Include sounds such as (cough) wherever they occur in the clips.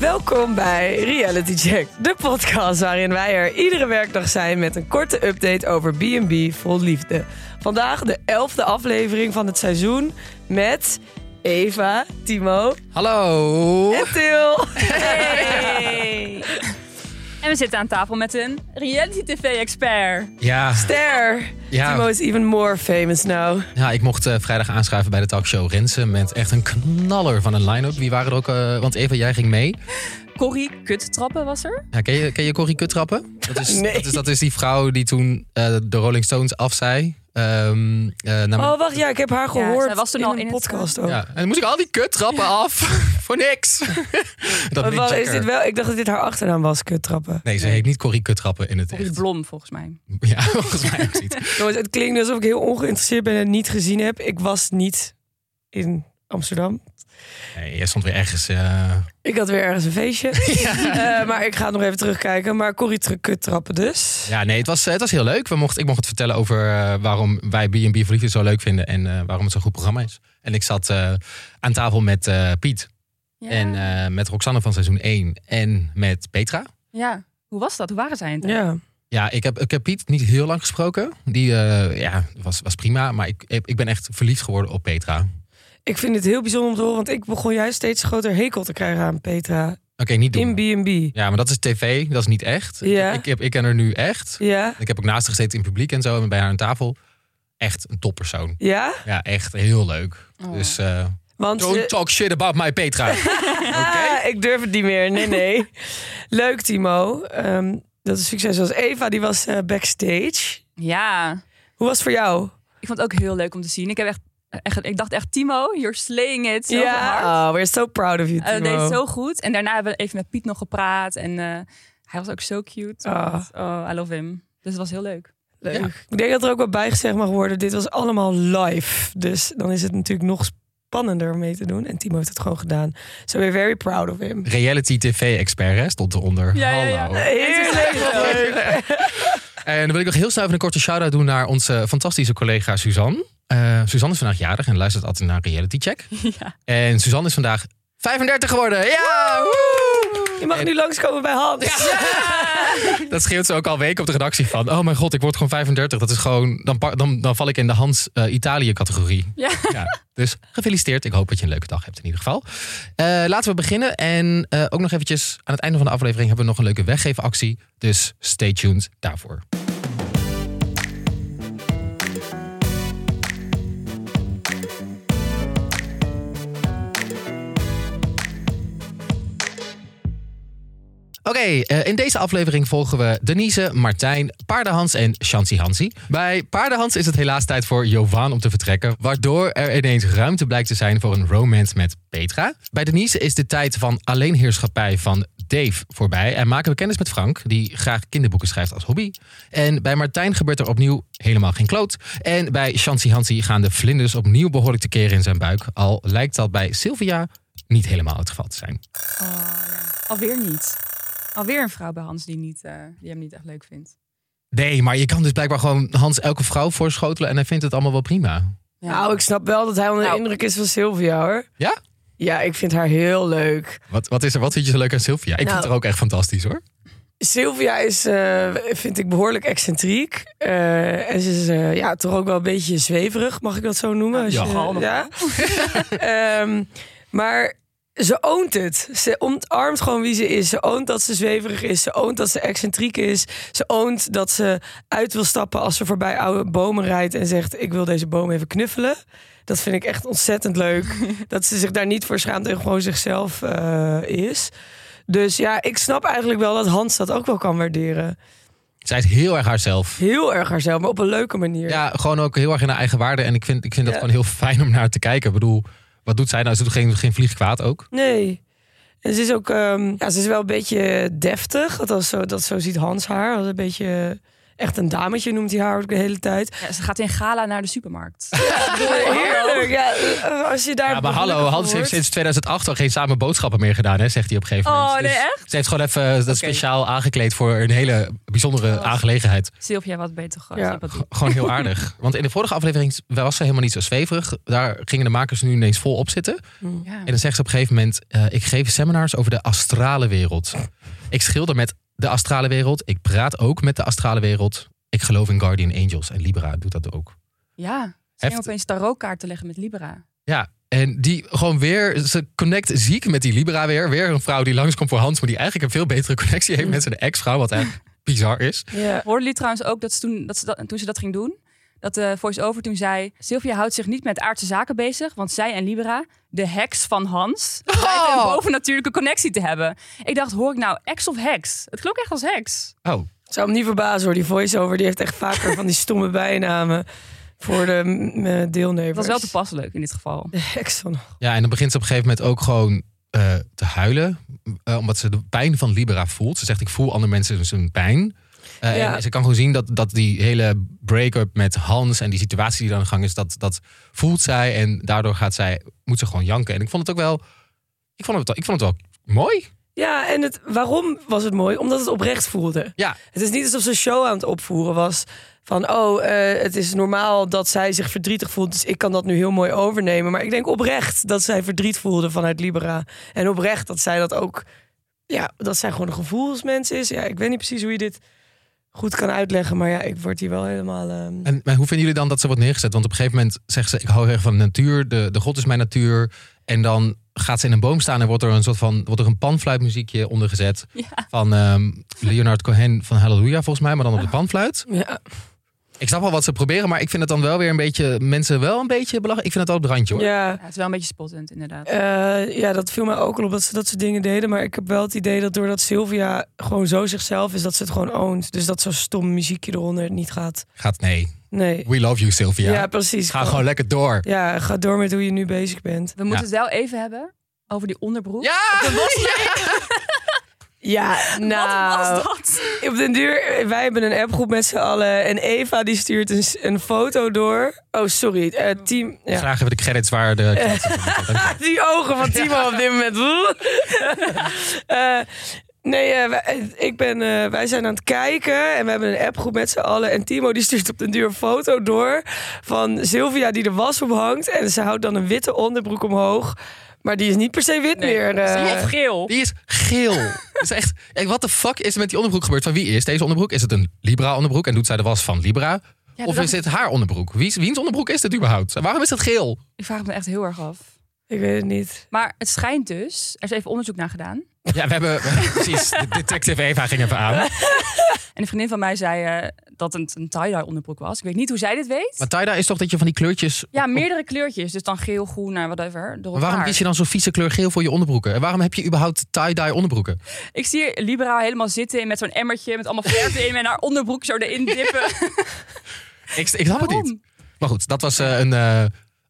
Welkom bij Reality Check, de podcast waarin wij er iedere werkdag zijn met een korte update over B&B vol liefde. Vandaag de elfde aflevering van het seizoen met Eva, Timo Hallo. en Til. En we zitten aan tafel met een reality tv-expert. Ja, Ter, Timo ja. is even more famous now. ja, ik mocht eh, vrijdag aanschuiven bij de talkshow Rensen met echt een knaller van een line-up. Wie waren er ook? eh, want Eva, jij ging mee. Corrie Kuttrappen was er. Ja, ken, je, ken je Corrie Kuttrappen? Dat is, Nee. dat is, dat is die vrouw die toen eh, de Rolling Stones afzei. Ehm, eh, nam- Oh, wacht, ja, ik heb haar gehoord zij was toen in al een in het, podcast ook. ja. En dan moest ik al die kuttrappen af. (laughs) Voor niks. (laughs) dat Maar Mick wel, is Jagger- dit wel, ik dacht dat dit haar achternaam was, kuttrappen. Nee, ze heet niet Corrie Kuttrappen in het Corrie echt. Blom, volgens mij. (laughs) Ja, volgens mij ook niet. Jongens, het klinkt alsof ik heel ongeïnteresseerd ben en het niet gezien heb. Ik was niet in Amsterdam. Nee, jij stond weer ergens... eh, Ik had weer ergens een feestje. (laughs) Eh, maar ik ga het nog even terugkijken. Maar Corrie Tru- kut trappen dus. Ja, nee, het was, eh, het was heel leuk. We mocht, ik mocht het vertellen over eh, waarom wij B&B voor Liefde zo leuk vinden en eh, waarom het zo'n goed programma is. En ik zat eh, aan tafel met eh, Piet Ja. en eh, met Roxanne van seizoen 1 en met Petra. ja. Hoe was dat? Hoe waren zij in het? Ja. Ja, ik heb, ik heb Piet niet heel lang gesproken. Die eh, ja, was, was prima, maar ik, ik ben echt verliefd geworden op Petra. Oké, Ik vind het heel bijzonder om te horen. Want ik begon juist steeds een groter hekel te krijgen aan Petra. niet doen. In B&B. Ja, maar dat is tv, dat is niet echt. Ja. Ik, ik, heb, ik ken haar nu echt. Ja? Ik heb ook naast haar gezeten in het publiek en zo en bij haar aan tafel. Echt een toppersoon. Ja? Ja, echt heel leuk. Oh. Dus... eh, Want Don't eh, talk shit about my Petra. ah, ik durf het niet meer. Nee, (laughs) nee. Leuk, Timo. Ehm, dat is succes. Was Eva, die was eh, backstage. Ja. Hoe was het voor jou? Ik vond het ook heel leuk om te zien. Ik, heb echt, echt, ik dacht echt, Timo, you're slaying it. Zo hard. ja. Oh, we're so proud of you, Eh, Timo. dat deed het zo goed. En daarna hebben we even met Piet nog gepraat. En eh, hij was ook zo cute. Ah. Oh, I love him. Dus het was heel leuk. Leuk. Ja. Ik denk dat er ook wel bij gezegd mag worden: dit was allemaal live. Dus dan is het natuurlijk nog spannender om mee te doen. En Timo heeft het gewoon gedaan. So we're very proud of him. (laughs) Reality TV-expert hè, stond eronder. Ja, ja, Hallo. ja. Heerlijk. En dan wil ik nog heel snel even een korte shout-out doen naar onze fantastische collega Suzanne. Eh, Suzanne is vandaag jarig en luistert altijd naar Reality (laughs) Check. Ja. En Suzanne is vandaag 35 geworden. Ja! woe! Je mag nu langskomen bij Hans. (laughs) Dat scheelt ze ook al weken op de redactie van. Oh mijn god, ik word gewoon 35. Dat is gewoon, dan, pa- dan, dan val ik in de Hans eh, Italië-categorie. Ja. Ja, dus gefeliciteerd. Ik hoop dat je een leuke dag hebt in ieder geval. Eh, laten we beginnen. En eh, ook nog eventjes aan het einde van de aflevering hebben we nog een leuke weggeefactie. Dus stay tuned daarvoor. Oké, eh, in deze aflevering volgen we Denise, Martijn, Paardenhans en Chancy Hansi. Bij Paardenhans is het helaas tijd voor Jovan om te vertrekken, waardoor er ineens ruimte blijkt te zijn voor een romance met Petra. Bij Denise is de tijd van alleenheerschappij van Dave voorbij en maken we kennis met Frank, die graag kinderboeken schrijft als hobby. En bij Martijn gebeurt er opnieuw helemaal geen kloot. En bij Chancy Hansi gaan de vlinders opnieuw behoorlijk te keren in zijn buik, al lijkt dat bij Sylvia niet helemaal het geval te zijn. Alweer niet. Alweer een vrouw bij Hans die, niet, eh, die hem niet echt leuk vindt. Nee, maar je kan dus blijkbaar gewoon Hans elke vrouw voorschotelen en hij vindt het allemaal wel prima. Ja. Nou, ik snap wel dat hij onder de Nou. indruk is van Sylvia hoor. Ja? Ja, ik vind haar heel leuk. Wat, wat is er? Wat vind je zo leuk aan Sylvia? Ik Nou. vind haar ook echt fantastisch hoor. Sylvia is, eh, vind ik, behoorlijk excentriek. Eh, en ze is eh, ja, toch ook wel een beetje zweverig, mag ik dat zo noemen? Als Ja. je- Nogal, ja. (laughs) Ehm, maar ze oont het. Ze omarmt gewoon wie ze is. Ze oont dat ze zweverig is. Ze oont dat ze excentriek is. Ze oont dat ze uit wil stappen als ze voorbij oude bomen rijdt... en zegt, ik wil deze boom even knuffelen. Dat vind ik echt ontzettend (laughs) leuk. dat ze zich daar niet voor schaamt en gewoon zichzelf eh, is. Dus ja, ik snap eigenlijk wel dat Hans dat ook wel kan waarderen. Zij is heel erg haarzelf. Heel erg haarzelf, maar op een leuke manier. Ja, gewoon ook heel erg in haar eigen waarde. En ik vind, ik vind dat Ja. gewoon heel fijn om naar haar te kijken. Ik bedoel, wat doet zij nou? Ze doet geen, geen vlieg kwaad ook. Nee. En ze is ook, ehm, ja, ze is wel een beetje deftig. Althans, zo, dat zo ziet Hans haar. Als een beetje Echt een dametje noemt hij haar ook de hele tijd. Ja, ze gaat in gala naar de (laughs) supermarkt. Heerlijk. Ja, Eh, als je daar Ja, maar hallo, gelukkig Hans heeft wordt. sinds 2008 al geen samen boodschappen meer gedaan, hè, zegt hij op een gegeven moment. Oh, nee, Dus echt? Ze heeft gewoon even eh, dat speciaal aangekleed voor een hele bijzondere Oh. aangelegenheid. Sylvia, wat beter gast. Ja. sympathiek. Gewoon (laughs) heel aardig. Want in de vorige aflevering was ze helemaal niet zo zweverig. Daar gingen de makers nu ineens vol op zitten. Ja. En dan zegt ze op een gegeven moment: eh, Ik geef seminars over de astrale wereld. Ik schilder met de astrale wereld. Ik praat ook met de astrale wereld. Ik geloof in Guardian Angels. En Libra doet dat ook. ja. Ze ging Heftig. opeens tarotkaarten leggen met Libra. Ja, en die gewoon weer, ze connect ziek met die Libra weer. Weer een vrouw die langskomt voor Hans, maar die eigenlijk een veel betere connectie heeft met zijn ex-vrouw, wat echt bizar is. Ja. Hoorden jullie trouwens ook dat ze toen dat, ze dat, toen ze dat ging doen? Dat de voice-over toen zei... Sylvia houdt zich niet met aardse zaken bezig... want zij en Libra, de heks van Hans... blijken een bovennatuurlijke connectie te hebben. Ik dacht, hoor ik nou ex of heks? Het klonk echt als heks. Oh, Het zou me niet verbazen hoor, die voice-over die heeft echt vaker van die stomme (laughs) bijnamen voor de mm, eh, deelnemers. Dat was wel toepasselijk in dit geval. (laughs) De heks van ja, en dan begint ze op een gegeven moment ook gewoon eh, te huilen, eh, omdat ze de pijn van Libra voelt. Ze zegt, ik voel andere mensen zijn pijn. Eh, Ja. En ze kan gewoon zien dat, dat die hele break-up met Hans en die situatie die dan aan de gang is, dat, dat voelt zij. En daardoor gaat zij, moet ze gewoon janken. En ik vond het ook wel, ik vond het, wel- ik vond het wel mooi. Ja, en het, waarom was het mooi? Omdat het oprecht voelde. Ja, Het is niet alsof ze een show aan het opvoeren was. Van, oh, eh, het is normaal dat zij zich verdrietig voelt. Dus ik kan dat nu heel mooi overnemen. Maar ik denk oprecht dat zij verdriet voelde vanuit Libera. En oprecht dat zij dat ook... Ja, dat zij gewoon een gevoelsmens is. Ja, ik weet niet precies hoe je dit goed kan uitleggen. Maar ja, ik word hier wel helemaal... ehm, En maar hoe vinden jullie dan dat ze wordt neergezet? Want op een gegeven moment zegt ze: Ik hou heel erg van de natuur, de, de God is mijn natuur. En dan gaat ze in een boom staan en wordt er een soort van wordt er een panfluitmuziekje onder gezet. Ja. Van ehm, Leonard Cohen van Halleluja, volgens mij, maar dan Ah. op de panfluit. ja. Ik snap wel wat ze proberen, maar ik vind het dan wel weer een beetje mensen wel een beetje belachelijk. Ik vind het al op het randje hoor. ja. Ja, het is wel een beetje spottend, inderdaad. Eh, ja, dat viel mij ook al op dat ze dat soort dingen deden. Maar ik heb wel het idee dat doordat Sylvia gewoon zo zichzelf is, dat ze het gewoon ownt. Dus dat zo'n stom muziekje eronder niet gaat. Gaat nee. Nee. We love you, Sylvia. Ja, precies. Ga gewoon lekker door. Ja, ga door met hoe je nu bezig bent. We moeten het wel even hebben over die onderbroek. Ja! Ja, Wat was nou. dat? Op den duur, wij hebben een appgroep met z'n allen. En Eva die stuurt een, s- een foto door. Oh, sorry. eh, team. Ja. Eh. Vragen we de credits waar de. (laughs) Die ogen van Timo op dit (laughs) moment. Eh, nee, eh, wij, ik ben, eh, wij zijn aan het kijken en we hebben een appgroep met z'n allen. En Timo die stuurt op den duur een foto door van Sylvia die de was ophangt. En ze houdt dan een witte onderbroek omhoog. Maar die is niet per se wit meer. eh. Of geel. Die is (laughs) geel. Dat is echt. Wat de fuck is er met die onderbroek gebeurd? Van wie is deze onderbroek? Is het een Libra onderbroek en doet zij de was van Libra? dat of dacht is dit haar onderbroek? Wie, wiens onderbroek is dit überhaupt? Waarom is dat geel? Ik vraag het me echt heel erg af. Ik weet het niet. Maar het schijnt dus, er is even onderzoek naar gedaan. Ja, we (laughs) hebben precies. de Detective Eva ging even aan. En een vriendin van mij zei eh, dat het een tie-dye onderbroek was. Ik weet niet hoe zij dit weet. Maar Taida is toch dat je van die kleurtjes. Ja, meerdere kleurtjes. Dus dan geel, groen, nou, whatever. Door Maar waarom elkaar. kies je dan zo'n vieze kleur geel voor je onderbroeken? En waarom heb je überhaupt tie-dye onderbroeken? Ik zie Libera helemaal zitten met zo'n emmertje met allemaal verven in en haar onderbroek zo erin dippen. Ik, ik snap het Waarom? niet. Maar goed, dat was eh, een, eh,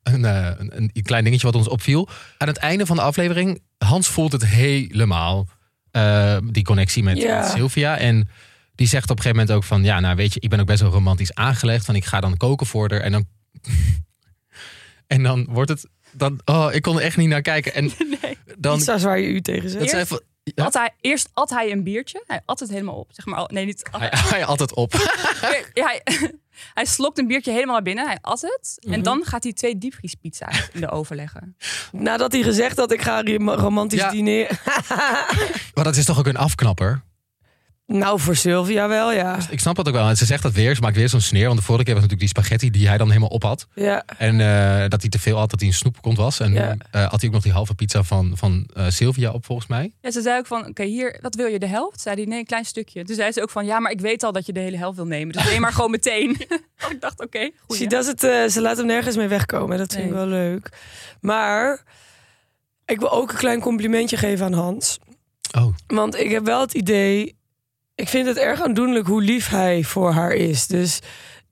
een, eh, een, een klein dingetje wat ons opviel. Aan het einde van de aflevering, Hans voelt het helemaal. eh, die connectie met Ja. met (laughs) Sylvia. En die zegt op een gegeven moment ook van... Ja, nou weet je, ik ben ook best wel romantisch aangelegd. Van ik ga dan koken voor haar. En dan, (laughs) en dan wordt het... Dan, oh, ik kon er echt niet naar kijken. En (laughs) Nee. dan... Iets als waar je u tegen zegt. Dat zei van, Ja. At hij, eerst at hij een biertje. Hij at het helemaal op. Zeg maar, al- nee, niet. at hij, (laughs) hij altijd op. hij, hij, (laughs) hij slokt een biertje helemaal naar binnen. Hij at het. Mhm. En dan gaat hij twee diepvriespizza's in de oven leggen. Nadat hij gezegd had, ik ga rom- romantisch Ja. diner. Maar dat is toch ook een afknapper? Nou, voor Sylvia wel, ja. Ik snap dat ook wel. En ze zegt dat weer. Ze maakt weer zo'n sneer. Want de vorige keer was natuurlijk die spaghetti die hij dan helemaal op had. Ja, En eh, dat hij te veel had, dat hij een snoepkont was. En Ja. nu eh, had hij ook nog die halve pizza van, van eh, Sylvia op, volgens mij. En ze zei ook van, oké, hier, wat wil je, de helft? Zei hij, nee, een klein stukje. Toen zei ze ook van, ja, maar ik weet al dat je de hele helft wil nemen. Dus neem maar gewoon meteen. (laughs) Oh, ik dacht, oké, goed. She does it, eh, ze laat hem nergens mee wegkomen. Dat vind ik Nee. wel leuk. Maar ik wil ook een klein complimentje geven aan Hans. Oh, Want ik heb wel het idee. Ik vind het erg aandoenlijk hoe lief hij voor haar is. Dus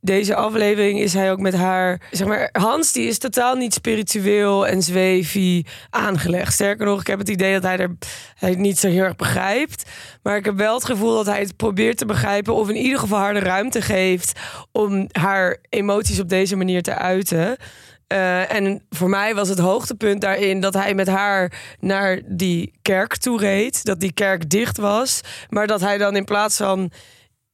deze aflevering is hij ook met haar. Zeg maar, Hans die is totaal niet spiritueel en zweefie aangelegd. Sterker nog, ik heb het idee dat hij, er, hij het niet zo heel erg begrijpt. Maar ik heb wel het gevoel dat hij het probeert te begrijpen. Of in ieder geval haar de ruimte geeft om haar emoties op deze manier te uiten. Eh, en voor mij was het hoogtepunt daarin dat hij met haar naar die kerk toe reed. Dat die kerk dicht was. Maar dat hij dan in plaats van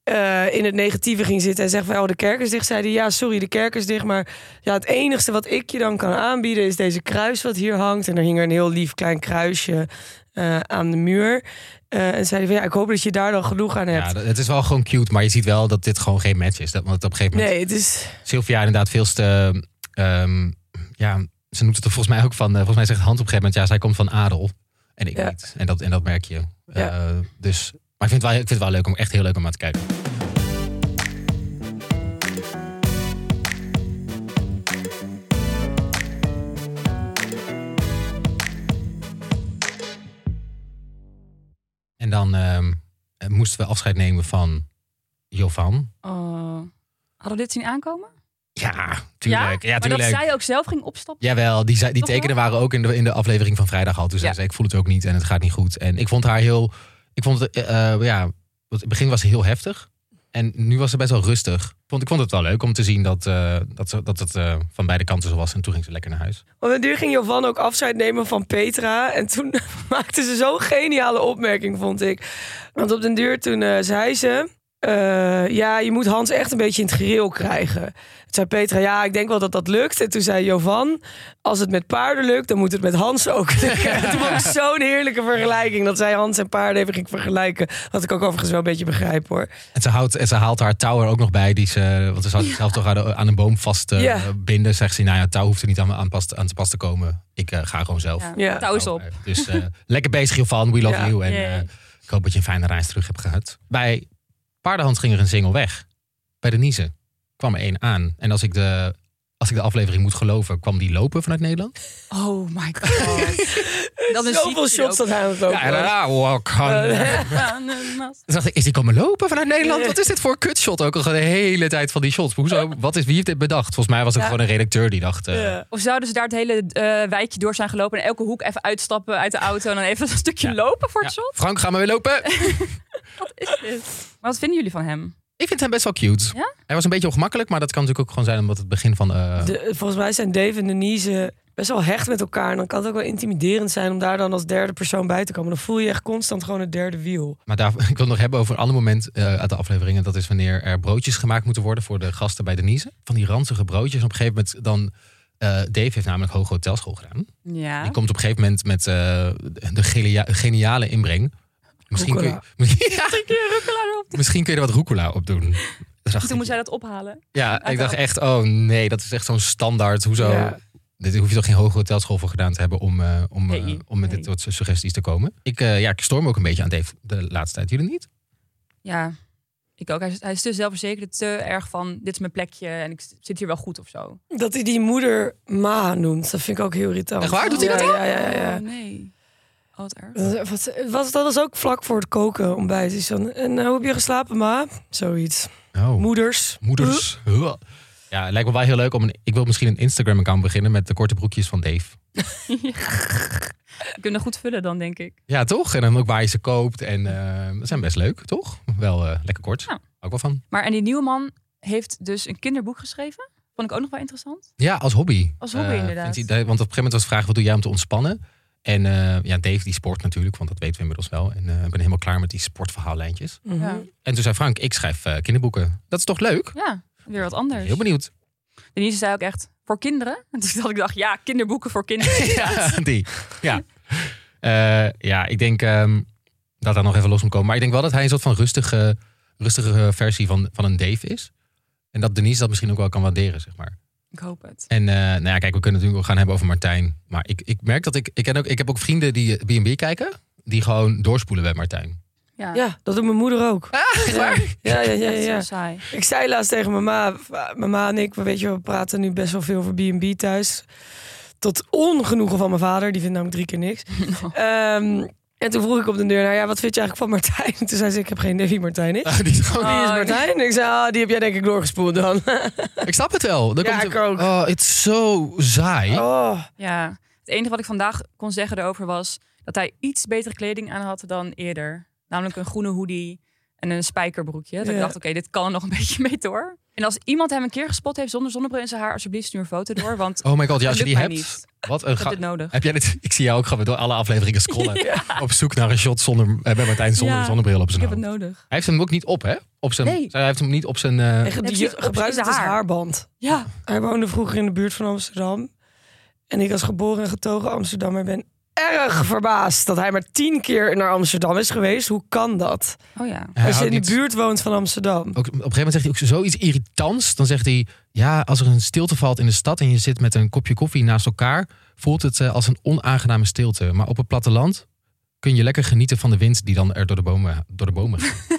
eh, in het negatieve ging zitten en zegt van oh, de kerk is dicht. Zei hij ja, sorry, de kerk is dicht. Maar ja, het enigste wat ik je dan kan aanbieden is deze kruis wat hier hangt. En er hing er een heel lief klein kruisje eh, aan de muur. Eh, en zei hij van ja, ik hoop dat je daar dan genoeg aan hebt. Ja, dat- het is wel gewoon cute, maar je ziet wel dat dit gewoon geen match is. Dat, want op een gegeven moment nee, het is. Sylvia inderdaad veel te... ehm, ja, ze noemt het er volgens mij ook van... eh, volgens mij zegt Hans op een gegeven moment... Ja, zij komt van adel. En ik Ja. niet. En dat, en dat merk je. Ja. Eh, dus, maar ik vind, het wel, ik vind het wel leuk om echt heel leuk om aan te kijken. En dan ehm, eh, moesten we afscheid nemen van Jovan. Oh. Hadden we dit zien aankomen? Ja, tuurlijk. Ja, maar dat tuurlijk. zij ook zelf ging opstappen. Jawel, die, zei- die Toch tekenen waren ook in de, in de aflevering van vrijdag al. Toen zei Ja. ze, ik voel het ook niet en het gaat niet goed. En ik vond haar heel... Ik vond het, eh, eh, ja, want het begin was heel heftig. En nu was ze best wel rustig. Want ik vond het wel leuk om te zien dat, eh, dat, ze, dat het eh, van beide kanten zo was. En toen ging ze lekker naar huis. Want een duur ging Jovan ook afscheid nemen van Petra. En toen (laughs) maakte ze zo'n geniale opmerking, vond ik. Want op den duur toen eh, zei ze... eh, ja, je moet Hans echt een beetje in het gereel krijgen. Toen zei Petra, ja, ik denk wel dat dat lukt. En toen zei Jovan, als het met paarden lukt... dan moet het met Hans ook lukken. En toen was zo'n heerlijke vergelijking... dat zij Hans en paarden even ging vergelijken. Wat ik ook overigens wel een beetje begrijp, hoor. En ze, houdt, en ze haalt haar touw er ook nog bij. Die ze, want ze zou zichzelf toch aan, de- aan een boom vast eh, Ja. binden. Zegt ze, nou ja, touw hoeft er niet aan, aan, pas, aan te pas te komen. Ik eh, ga gewoon zelf. Ja. Ja. Touw is op. Nou, eh, Dus eh, (laughs) lekker bezig Jovan, we love Oh, Ja. you. En Yay. eh, ik hoop dat je een fijne reis terug hebt gehad. Bij Paardenhand ging er een single weg. Bij de Niese kwam er één aan. En als ik, de, als ik de aflevering moet geloven, kwam die lopen vanuit Nederland. Oh my (laughs) god. dat is Zoveel shots dat hij aan het lopen Ja, was. ja, wow, kan. Oh, Eh, (laughs) Toen dacht ik, is die komen lopen vanuit Nederland? Wat is dit voor kutshot? Ook al de hele tijd van die shots. Hoezo, wat is, wie heeft dit bedacht? Volgens mij was het Ja. gewoon een redacteur die dacht... eh, ja. Of zouden ze daar het hele eh, wijkje door zijn gelopen en elke hoek even uitstappen uit de auto en dan even een stukje Ja. lopen voor ja, het shot? Frank, ga maar weer (laughs) lopen. Wat is dit? Maar wat vinden jullie van hem? Ik vind hem best wel cute. Ja? Hij was een beetje ongemakkelijk, maar dat kan natuurlijk ook gewoon zijn omdat het begin van... eh, De- volgens mij zijn Dave en Denise best wel hecht met elkaar. En dan kan het ook wel intimiderend zijn om daar dan als derde persoon bij te komen. Dan voel je je echt constant gewoon het derde wiel. Maar daar, (laughs) ik wil het nog hebben over een ander moment eh, uit de aflevering. En dat is wanneer er broodjes gemaakt moeten worden voor de gasten bij Denise. Van die ranzige broodjes. En op een gegeven moment dan... eh, Dave heeft namelijk hoge hotelschool gedaan. Ja. Die komt op een gegeven moment met eh, de gelia- geniale inbreng. Misschien kun, je, (laughs) Ja, misschien kun je er wat rucola op (laughs) doen. Dat dacht Toen ik, moest hij Ah, dat ophalen. ja, ik dacht echt, oh nee, dat is echt zo'n standaard. Hoezo? Ja. Dit hoef je toch geen hoge hotelschool voor gedaan te hebben om, eh, om, eh, Nee, om met nee. dit soort suggesties te komen. Ik, eh, ja, ik storm ook een beetje aan Dave de laatste tijd. Jullie niet? Ja, ik ook. Hij is, hij is te zelfverzekerd, te erg van dit is mijn plekje en ik zit hier wel goed of zo. Dat hij die moeder Ma noemt, dat vind ik ook heel irritant. Echt waar? Oh, Doet hij ja, dat Ja, ja, ja. Oh, nee. Oh, wat erg. Dat- Wat, wat, dat was ook vlak voor het koken ontbijt. Is dan, en eh, hoe heb je geslapen, ma? Zoiets. Oh. Moeders. Moeders. Huh. Ja, het lijkt me wel heel leuk om een. Ik wil misschien een Instagram-account beginnen met de korte broekjes van Dave. Je kunt hem goed vullen dan, denk ik. Ja, toch? En dan ook waar je ze koopt. En eh, dat zijn best leuk, toch? Wel eh, lekker kort. Ja. Ook wel van. Maar en die nieuwe man heeft dus een kinderboek geschreven. Vond ik ook nog wel interessant. Ja, als hobby. Als hobby, Eh, inderdaad. vindt hij- want op een gegeven moment was de vraag: wat doe jij om te ontspannen? En eh, ja, Dave die sport natuurlijk, want dat weten we inmiddels wel. En eh, ik ben helemaal klaar met die sportverhaallijntjes. Mhm. Ja. En toen zei Frank: ik schrijf eh, kinderboeken. Dat is toch leuk? Ja, weer Ik wat ben anders. Heel benieuwd. Denise zei ook echt, voor kinderen? (laughs) En toen dacht ik, dacht, ja, kinderboeken voor kinderen. (laughs) Ja, die. Ja. Eh, ja, ik denk ehm, dat daar nog even los moet komen. Maar ik denk wel dat hij een soort van rustige, rustige eh, versie van, van een Dave is. En dat Denise dat misschien ook wel kan waarderen, zeg maar. ik hoop het. En eh, nou ja, kijk, we kunnen het natuurlijk ook gaan hebben over Martijn. Maar ik, ik merk dat ik... Ik, ken ook, ik heb ook vrienden die eh, B&B kijken... die gewoon doorspoelen bij Martijn. (laughs) Ja, Ja, dat doet mijn moeder ook. Ah, waar? Ja, ja, ja, dat is ja. zo saai. Ik zei laatst tegen mama, mama en ik, weet je, we praten nu best wel veel over B&B (laughs) thuis. Tot ongenoegen van mijn vader, die vindt namelijk drie keer niks. Ehm, En toen vroeg ik op de deur, nou ja, wat vind je eigenlijk van Martijn? (laughs) Toen zei ze, ik heb geen idee wie Martijn is. die is gewoon- Wie is Oh, Martijn? Ik zei, ah, die heb jij denk ik doorgespoeld dan. Ik snap het wel. Dan Ja, komt ik ook. Oh, het is zo (laughs) saai. Oh, Ja, het enige wat ik vandaag kon zeggen erover was dat hij iets betere kleding aan had dan eerder. Namelijk een groene hoodie en een spijkerbroekje. Dat ik Ja. dacht, oké, dit kan er nog een (laughs) beetje mee door. En als iemand hem een keer gespot heeft zonder zonnebril in zijn haar, alsjeblieft stuur een (laughs) foto door. Want Oh my god, ja, als je het die lukt mij hebt. niet. Wat een Ik heb ga- dit nodig. Heb jij dit? Ik zie jou ook gewoon door alle afleveringen scrollen. Op zoek naar een shot zonder, eh, bij Martijn zonder Ja, zonnebril op Ik zijn heb hoofd. het nodig. Hij heeft hem ook niet op, hè? Op zijn, Nee. Hij heeft hem niet op zijn... eh, en die precies, op gebruikt zijn het als haar. haarband. Ja, Hij woonde vroeger in de buurt van Amsterdam. En ik als geboren en getogen Amsterdammer ben erg verbaasd... dat hij maar tien keer naar Amsterdam is geweest. Hoe kan dat? oh ja. hij Als je in de houdt niet- buurt woont van Amsterdam. Ook, op een gegeven moment zegt hij ook zoiets irritants. Dan zegt hij, ja, als er een stilte valt in de stad... en je zit met een kopje koffie naast elkaar... voelt het eh, als een onaangename stilte. Maar op het platteland kun je lekker genieten van de wind... die dan er door de bomen, door de bomen gaat.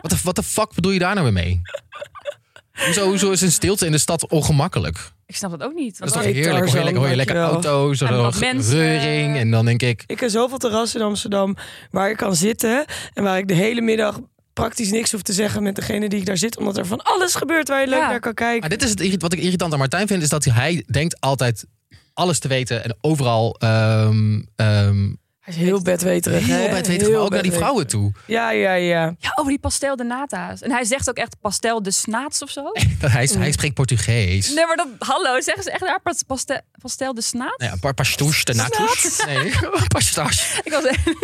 Wat de- Wat de fuck bedoel je daar nou weer mee? Hoezo, hoezo is een stilte in de stad ongemakkelijk? Ik snap dat ook Dat niet. Want is toch Nee, heerlijk? Hoor je Tarzan, lekker, hoor je lekker dankjewel. auto's, En dan wat mensen. reuring. En dan denk ik, Ik ken zoveel terrassen in Amsterdam waar ik kan zitten en waar ik de hele middag praktisch niks hoef te zeggen met degene die ik daar zit, omdat er van alles gebeurt waar je leuk Ja. naar kan Maar kijken. dit is het, irrit- wat ik irritant aan Martijn vind, is dat hij denkt altijd alles te weten en overal ehm ehm Hij is heel bedweterig. heel hè? bedweterig, maar Heel ook naar die bedweterig. vrouwen toe. Ja, ja, ja. ja, over die pastel de nata's. En hij zegt ook echt pastel de snaats of zo. Dat hij, hij spreekt Portugees. Nee, maar dat, hallo, zeggen ze echt daar pas- paste- pastel de snaats? Nou ja, pa- pastoes de natus. Nee, (laughs) pastoes. Ik was echt,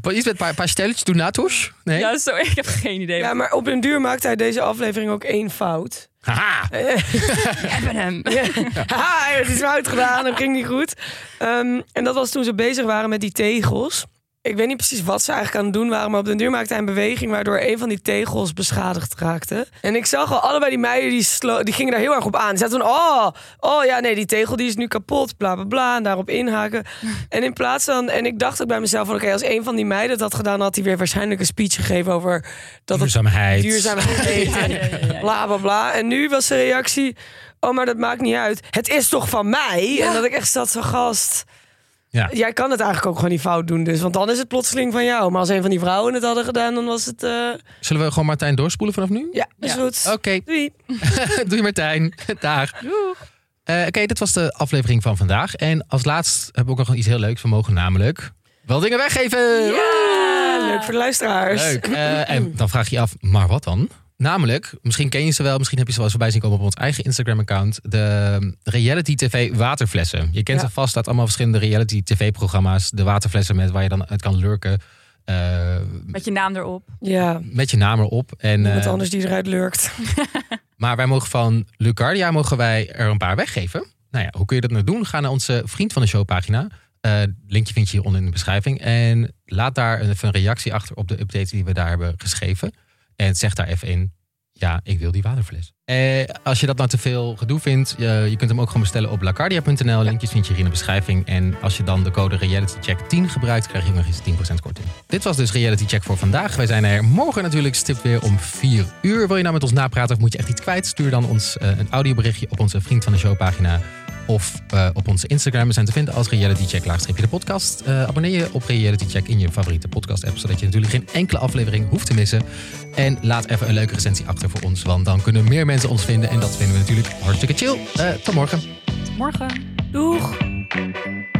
Wat Iets met pa pasteltjes de natus? Nee. ja, sorry, ik heb geen idee. Ja, maar op een duur maakt hij deze aflevering ook één fout. Haha. Eh, We hebben hem. (laughs) Haha, het is fout gedaan, dat ging niet goed. Ehm, en dat was toen ze bezig waren met die tegels. Ik weet niet precies wat ze eigenlijk aan het doen waren, maar op den duur maakte hij een beweging waardoor een van die tegels beschadigd raakte. En ik zag al allebei die meiden die, slo- die gingen daar heel erg op aan. Ze zaten van, oh, oh ja, nee, die tegel die is nu kapot, bla bla bla, en daarop inhaken. En in plaats van, en ik dacht ook bij mezelf van, oké, als een van die meiden dat had gedaan, had hij weer waarschijnlijk een speech gegeven over dat het Duurzaamheid. (laughs) duurzaamheid Ja, eten. ja, ja, ja. Bla bla bla. En nu was de reactie: Oh, maar dat maakt niet uit. Het is toch van mij? En dat ik echt zat van gast. Ja. Jij kan het eigenlijk ook gewoon niet fout doen, dus. Want dan is het plotseling van jou. Maar als een van die vrouwen het hadden gedaan, dan was het. eh, Zullen we gewoon Martijn doorspoelen vanaf nu? ja, is Ja. goed. Oké, Doei. (laughs) doei Martijn. Dag. Eh, Oké, dit was de aflevering van vandaag. En als laatst hebben we ook nog iets heel leuks. We mogen namelijk wel dingen weggeven. Ah, leuk voor de luisteraars. Leuk. Eh, en dan vraag je je af, maar wat dan? Namelijk, misschien ken je ze wel, misschien heb je ze wel eens voorbij zien komen op ons eigen Instagram-account. De reality TV waterflessen. Je kent Ja. ze vast uit allemaal verschillende reality TV-programma's. De waterflessen met waar je dan uit kan lurken. eh, Met je naam erop. Ja, met je naam erop. En, iemand eh, anders die eruit lurkt. maar wij mogen van Lucardia mogen wij er een paar weggeven. Nou ja, hoe kun je dat nou doen? Ga naar onze Vriend van de Show pagina. Eh, linkje vind je hieronder in de beschrijving. En laat daar even een reactie achter op de update die we daar hebben geschreven. En zeg daar even in, ja, ik wil die waterfles. Eh, als je dat nou te veel gedoe vindt, eh, je kunt hem ook gewoon bestellen op lacardia.nl. Linkjes vind je hier in de beschrijving. En als je dan de code realitycheck10 gebruikt, krijg je nog eens 10% korting. Dit was dus Reality Check voor vandaag. Wij zijn er morgen natuurlijk stip weer om 4 uur. Wil je nou met ons napraten of moet je echt iets kwijt? Stuur dan ons eh, een audioberichtje op onze Vriend van de Show pagina. Of eh, op onze Instagram. We zijn te vinden als Reality Check laagstreepje de podcast. Eh, abonneer je op Reality Check in je favoriete podcast app. Zodat je natuurlijk geen enkele aflevering hoeft te missen. En laat even een leuke recensie achter voor ons. Want dan kunnen meer mensen ons vinden. En dat vinden we natuurlijk hartstikke chill. Eh, tot morgen. Tot morgen. Doeg.